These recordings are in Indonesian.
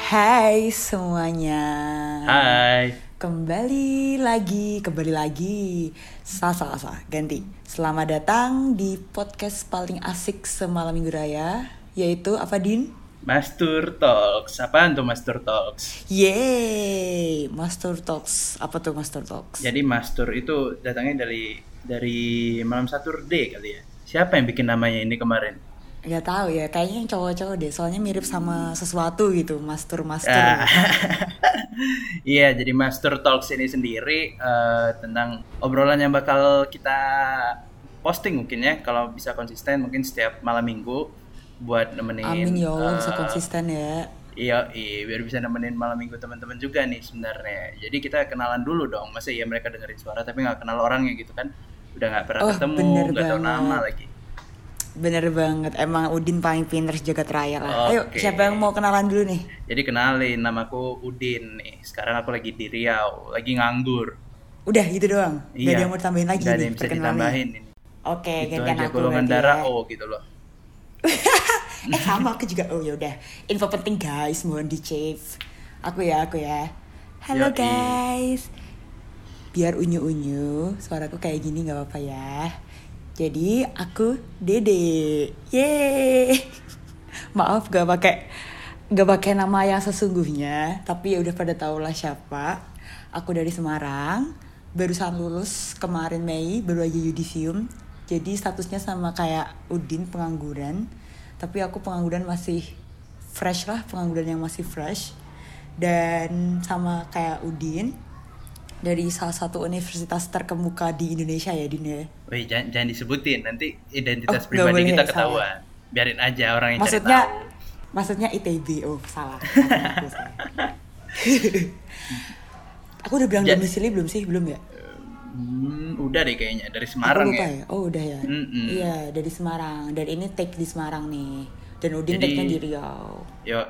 Hai semuanya. Hai. Kembali lagi, kembali lagi. Sasa, sasa, ganti. Selamat datang di podcast paling asik semalam minggu raya, yaitu apa Din? Master Talks. Apaan tuh Master Talks? Yeay, Master Talks. Apa tuh Master Talks? Jadi Master itu datangnya dari dari malam Saturday kali ya. Siapa yang bikin namanya ini kemarin? Gak tahu ya, kayaknya yang cowok-cowok deh. Soalnya mirip sama sesuatu gitu, Master Hmm. Ah. Master. Iya, jadi Master Talks ini sendiri eh, tentang obrolan yang bakal kita posting mungkin ya kalau bisa konsisten mungkin setiap malam Minggu buat nemenin Amin ya Allah bisa eh, konsisten ya. Iya, iya, biar bisa nemenin malam minggu teman-teman juga nih sebenarnya. Jadi kita kenalan dulu dong, masa iya mereka dengerin suara tapi nggak kenal orangnya gitu kan? Udah nggak pernah Oh, ketemu, bener nggak tahu banget. nama lagi. Bener banget, emang Udin paling pinter sejagat raya lah. Ayo, Oke. siapa yang mau kenalan dulu nih? Jadi kenalin, namaku Udin nih. Sekarang aku lagi di Riau, lagi nganggur. Udah gitu doang. Gak ada Iya. yang mau ditambahin lagi Nggak ada nih yang bisa perkenalannya. ditambahin ini. Oke, Itu gantian aja aku golongan berarti darah ya. O gitu loh. eh sama aku juga. Oh yaudah. Info penting guys, mohon di save. Aku ya, aku ya. Halo Yoi. guys. Biar unyu-unyu, suaraku kayak gini nggak apa-apa ya. Jadi aku Dede. Yeay. Maaf gak pakai gak pakai nama yang sesungguhnya, tapi ya udah pada tau lah siapa. Aku dari Semarang, barusan lulus kemarin Mei, baru aja yudisium. Jadi statusnya sama kayak Udin pengangguran, tapi aku pengangguran masih fresh lah, pengangguran yang masih fresh. Dan sama kayak Udin dari salah satu universitas terkemuka di Indonesia ya Din ya. Wih, jangan, jangan disebutin, nanti identitas Oh, nggak pribadi boleh kita ya, ketahuan. Biarin aja orang yang maksudnya cari tahu. maksudnya ITB oh salah Aku salah. aku udah bilang Ja- domisili belum sih belum ya Hmm, udah deh kayaknya aku dari Semarang lupa ya. ya oh udah ya Mm-mm. iya dari Semarang dan ini take di Semarang nih dan Udin Jadi- take-nya di Riau Yo,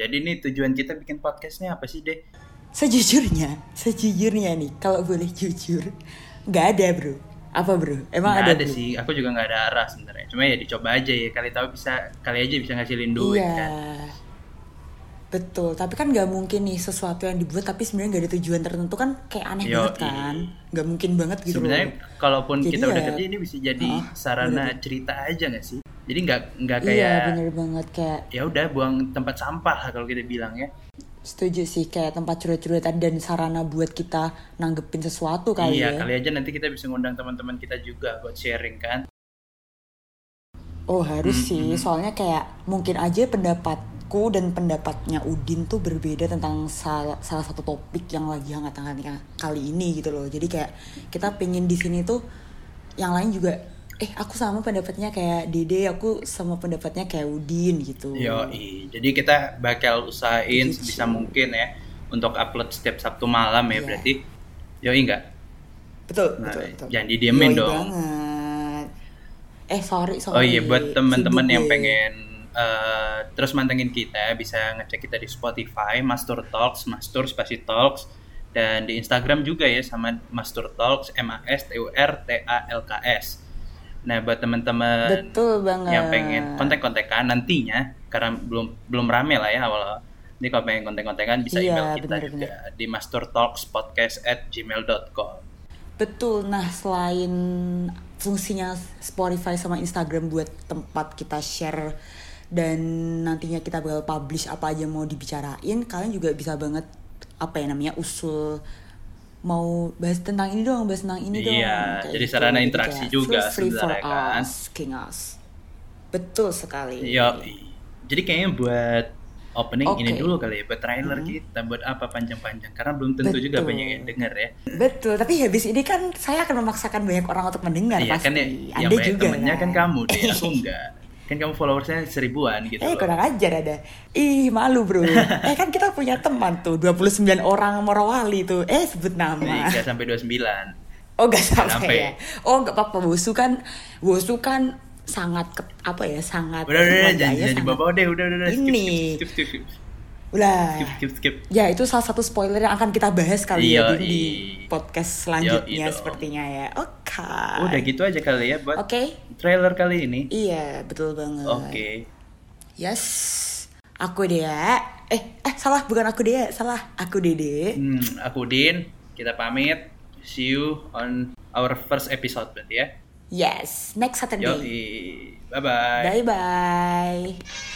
jadi nih tujuan kita bikin podcastnya apa sih deh? sejujurnya sejujurnya nih kalau boleh jujur nggak ada bro apa bro emang Nggak ada, ada bro? sih, aku juga nggak ada arah sebenarnya. Cuma ya dicoba aja ya, kali tahu bisa, kali aja bisa ngasilin duit iya kan. betul tapi kan nggak mungkin nih sesuatu yang dibuat tapi sebenarnya nggak ada tujuan tertentu kan kayak aneh Yoi. banget kan nggak mungkin banget gitu loh. Sebenarnya kalaupun Jadi kita udah ya- kerja ini bisa jadi Oh, sarana cerita aja nggak sih? Jadi nggak nggak iya kayak bener banget kayak ya udah buang tempat sampah lah kalau kita bilang ya. setuju sih kayak tempat curhat-curhatan dan sarana buat kita nanggepin sesuatu kali iya, ya kali aja nanti kita bisa ngundang teman-teman kita juga buat sharing kan. oh harus sih soalnya kayak mungkin aja pendapatku dan pendapatnya Udin tuh berbeda tentang sal- salah satu topik yang lagi hangat-hangatnya kali ini gitu loh jadi kayak kita pengen di sini tuh yang lain juga eh aku sama pendapatnya kayak Dede aku sama pendapatnya kayak Udin gitu Yoi. Jadi kita bakal usahain Gitu. sebisa mungkin ya untuk upload setiap Sabtu malam Iya. ya berarti. Yoi enggak? betul Nah, betul, betul. jangan didiemin Yoi dong. banget. eh sorry sorry Oh iya buat teman-teman Sibuk yang gue. pengen eh, terus mantengin kita bisa ngecek kita di Spotify Master Talks, Master Spasi Talks dan di Instagram juga ya sama Master Talks M A S T U R T A L K S. Nah, buat teman-teman betul banget yang pengen kontak-kontakan nantinya karena belum belum rame lah ya awal Jadi kalau pengen kontak-kontakan bisa Iya, email kita benar-benar. juga di mastertalkspodcast@gmail.com. betul nah selain fungsinya Spotify sama Instagram buat tempat kita share dan nantinya kita bakal publish apa aja mau dibicarain kalian juga bisa banget apa ya namanya usul mau bahas tentang ini dong bahas tentang ini dong Iya, kayak gitu. jadi sarana Jadi interaksi kayak juga feel free for sebenarnya kan. us king us betul sekali Yo, jadi kayaknya buat opening ini Oke. Mm-hmm. dulu kali ya, buat trailer kita, buat apa panjang-panjang karena belum tentu juga Betul. banyak yang denger ya. Betul, tapi habis ini kan saya akan memaksakan banyak orang untuk mendengar Iya pasti. kan ya, yang Anda banyak juga temennya kan kamu deh, aku enggak. Kan kamu followersnya seribuan gitu. Eh loh. kurang ajar ada. Ih malu bro. eh kan kita punya teman tuh 29 orang Morowali tuh. Eh sebut Jadi nama. enggak sampai 29. Oh gak sampai, sampai. ya. Oh gak apa-apa Bosu kan Bosu kan sangat ke- apa ya sangat Udah, udah, udah, keluarganya jangan jangan sangat- dibawa deh, udah, udah, udah. Skip, Ini. skip, skip, skip, skip, Ulah. skip, skip, skip. Ya itu salah satu spoiler yang akan kita bahas kali ya Yoi. Din, di podcast selanjutnya iya. Yoi dong. sepertinya ya. Oke. Udah gitu aja kali ya buat Oke. trailer kali ini. Iya betul banget. Oke. Yes, aku dia. Eh, eh, salah bukan aku Dea, salah. Aku Dede. Hmm, aku Din, kita pamit. See you on our first episode berarti ya. Yes, next Saturday. Yoi, Bye bye-bye. bye.